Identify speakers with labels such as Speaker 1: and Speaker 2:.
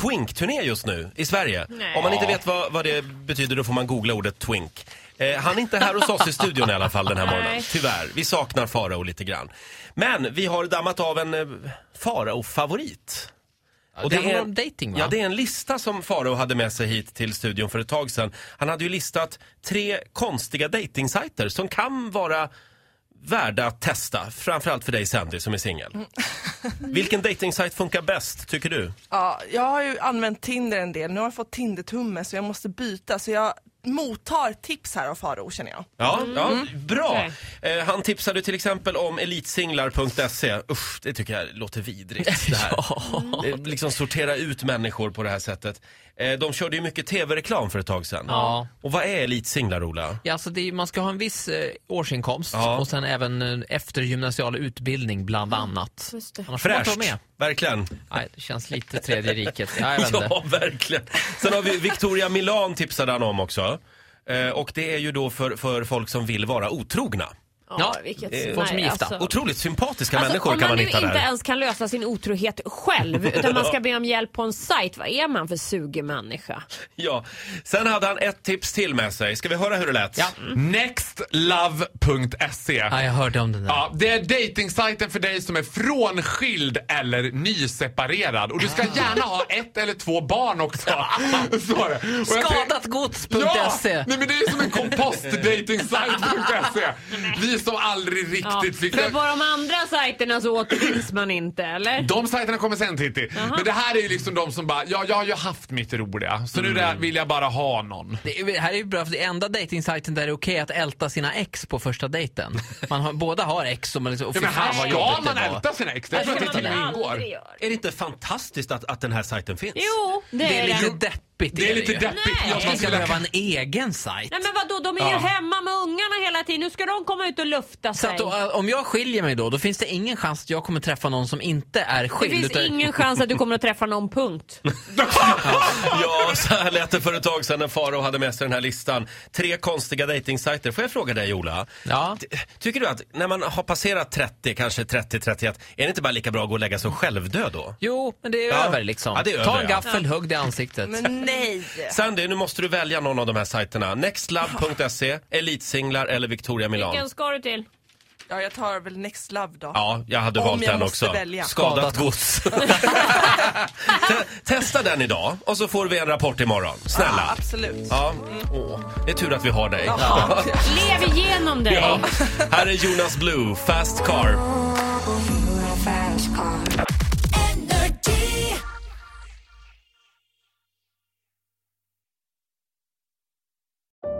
Speaker 1: Twink-turné just nu i Sverige. Om man inte vet vad, vad det betyder då får man googla ordet Twink. Eh, han är inte här hos oss i studion i alla fall den här morgonen.
Speaker 2: Nej.
Speaker 1: Tyvärr, vi saknar Farao lite grann. Men vi har dammat av en eh, Farao-favorit. Och
Speaker 3: det handlar om dating, va?
Speaker 1: Ja, det är en lista som Farao hade med sig hit till studion för ett tag sedan. Han hade ju listat tre konstiga datingsajter som kan vara värda att testa. Framförallt för dig Sandy som är singel. Vilken datingsajt funkar bäst tycker du?
Speaker 4: Ja, jag har ju använt Tinder en del, nu har jag fått Tinder-tumme så jag måste byta så jag mottar tips här av Faro känner jag.
Speaker 1: Ja,
Speaker 3: Mm.
Speaker 1: ja bra. Eh, han tipsade till exempel om elitsinglar.se. Usch, det tycker jag låter vidrigt. Det här. Eh, Liksom sortera ut människor på det här sättet. Eh, de körde ju mycket tv-reklam för ett tag sedan.
Speaker 3: Ja.
Speaker 1: Och vad är elitsinglar, Ola?
Speaker 3: Ja, alltså det är, man ska ha en viss eh, årsinkomst
Speaker 1: Ja.
Speaker 3: och sen även eh, eftergymnasial utbildning bland annat.
Speaker 2: Just det.
Speaker 3: Annars får man inte
Speaker 1: Fräscht,
Speaker 3: vara med.
Speaker 1: verkligen.
Speaker 3: Nej, det känns lite tredje riket. Ja, jag vet inte.
Speaker 1: Ja, verkligen. Sen har vi Victoria Milan tipsade han om också. Eh, och det är ju då för, för folk som vill vara otrogna.
Speaker 3: Ja,
Speaker 2: vilket
Speaker 3: eh, folk som är
Speaker 2: nej,
Speaker 3: gifta.
Speaker 2: alltså.
Speaker 1: Otroligt sympatiska
Speaker 2: Alltså,
Speaker 1: människor
Speaker 2: om
Speaker 1: kan man
Speaker 2: man nu
Speaker 1: hitta
Speaker 2: inte
Speaker 1: där.
Speaker 2: ens kan lösa sin otrohet själv utan man ska be om hjälp på en sajt, vad är man för sugig människa?
Speaker 1: Ja. Sen hade han ett tips till med sig. Ska vi höra hur det lät?
Speaker 3: Ja.
Speaker 5: Nextlove.se.
Speaker 3: Ja, jag hörde om den där.
Speaker 5: E. Ja, det är dejtingsajten för dig som är frånskild eller nyseparerad. Och du ska gärna ha ett eller två barn också. Så är det. Och jag ser-
Speaker 3: Skadatgods.se.
Speaker 5: Ja, nej men det är som en kompost dejtingsajt.se. E. Vi som aldrig riktigt
Speaker 2: Ja.
Speaker 5: fick...
Speaker 2: För på de andra sajterna så återfinns man inte eller?
Speaker 5: De sajterna kommer sen Titti. Men det här är ju liksom de som bara, ja jag har ju haft mitt roliga. Så nu där vill jag bara ha någon.
Speaker 3: Det är, här är ju bra, för det är enda dejtingsajten där det är okej att älta sina ex på första dejten. Man har, båda har ex och man liksom, och
Speaker 5: Ja,
Speaker 3: fy
Speaker 5: men här
Speaker 3: fan vad
Speaker 5: ska
Speaker 3: jobbigt
Speaker 5: man
Speaker 3: det var.
Speaker 5: älta sina ex. Det
Speaker 2: Det
Speaker 5: tror
Speaker 2: ska
Speaker 5: jag att det typ till och med
Speaker 2: man
Speaker 5: ingår.
Speaker 2: aldrig göra.
Speaker 1: Är det inte fantastiskt att, att den här sajten finns?
Speaker 2: Jo, det,
Speaker 3: Det är liksom-
Speaker 2: är
Speaker 3: lite
Speaker 2: det.
Speaker 3: deppigt.
Speaker 5: Det är lite
Speaker 3: ju.
Speaker 5: deppigt.
Speaker 2: Nej.
Speaker 5: Jag
Speaker 3: Att
Speaker 5: skulle
Speaker 3: man ska
Speaker 5: vilja-
Speaker 3: behöva en egen sajt.
Speaker 2: Nej men vadå, de är ju hemma med ungarna hela tiden. Nu ska de komma ut och lufta
Speaker 3: Så
Speaker 2: sig.
Speaker 3: att, eh, om jag skiljer mig då, då finns det ingen chans att jag kommer träffa någon som inte är
Speaker 2: Det
Speaker 3: skild.
Speaker 2: finns
Speaker 3: utan-
Speaker 2: ingen chans att du kommer att träffa någon punkt.
Speaker 1: Ja, så här lät det för ett tag sedan när Faro hade med sig den här listan. Tre konstiga dejtingsajter. Får jag fråga dig Ola?
Speaker 3: Ja.
Speaker 1: Ty- Tycker du att när man har passerat 30, kanske 30-31, är det inte bara lika bra att gå och lägga sig självdöd då?
Speaker 3: Jo, men det är
Speaker 1: Ja.
Speaker 3: över liksom.
Speaker 1: Ja, det är
Speaker 3: Ta
Speaker 1: över,
Speaker 3: en
Speaker 1: ja.
Speaker 3: gaffel, hugg det i ansiktet.
Speaker 4: Men nej!
Speaker 1: Sandy, nu måste du välja någon av de här sajterna. Nextlove.se, E, Elitsinglar eller Victoria Milan.
Speaker 2: Vilken ska du till?
Speaker 4: Ja, jag tar väl Next Love då.
Speaker 1: Ja, jag hade
Speaker 4: Om
Speaker 1: valt
Speaker 4: jag
Speaker 1: den
Speaker 4: måste
Speaker 1: också.
Speaker 4: välja.
Speaker 1: Skadat gods. Te- Testa den idag och så får vi en rapport imorgon.
Speaker 4: Ja,
Speaker 1: Snälla.
Speaker 4: Ah, absolut.
Speaker 1: Ja, åh, det är tur att vi har dig.
Speaker 2: Lev igenom dig!
Speaker 1: Ja. Här är Jonas Blue, Fast Car.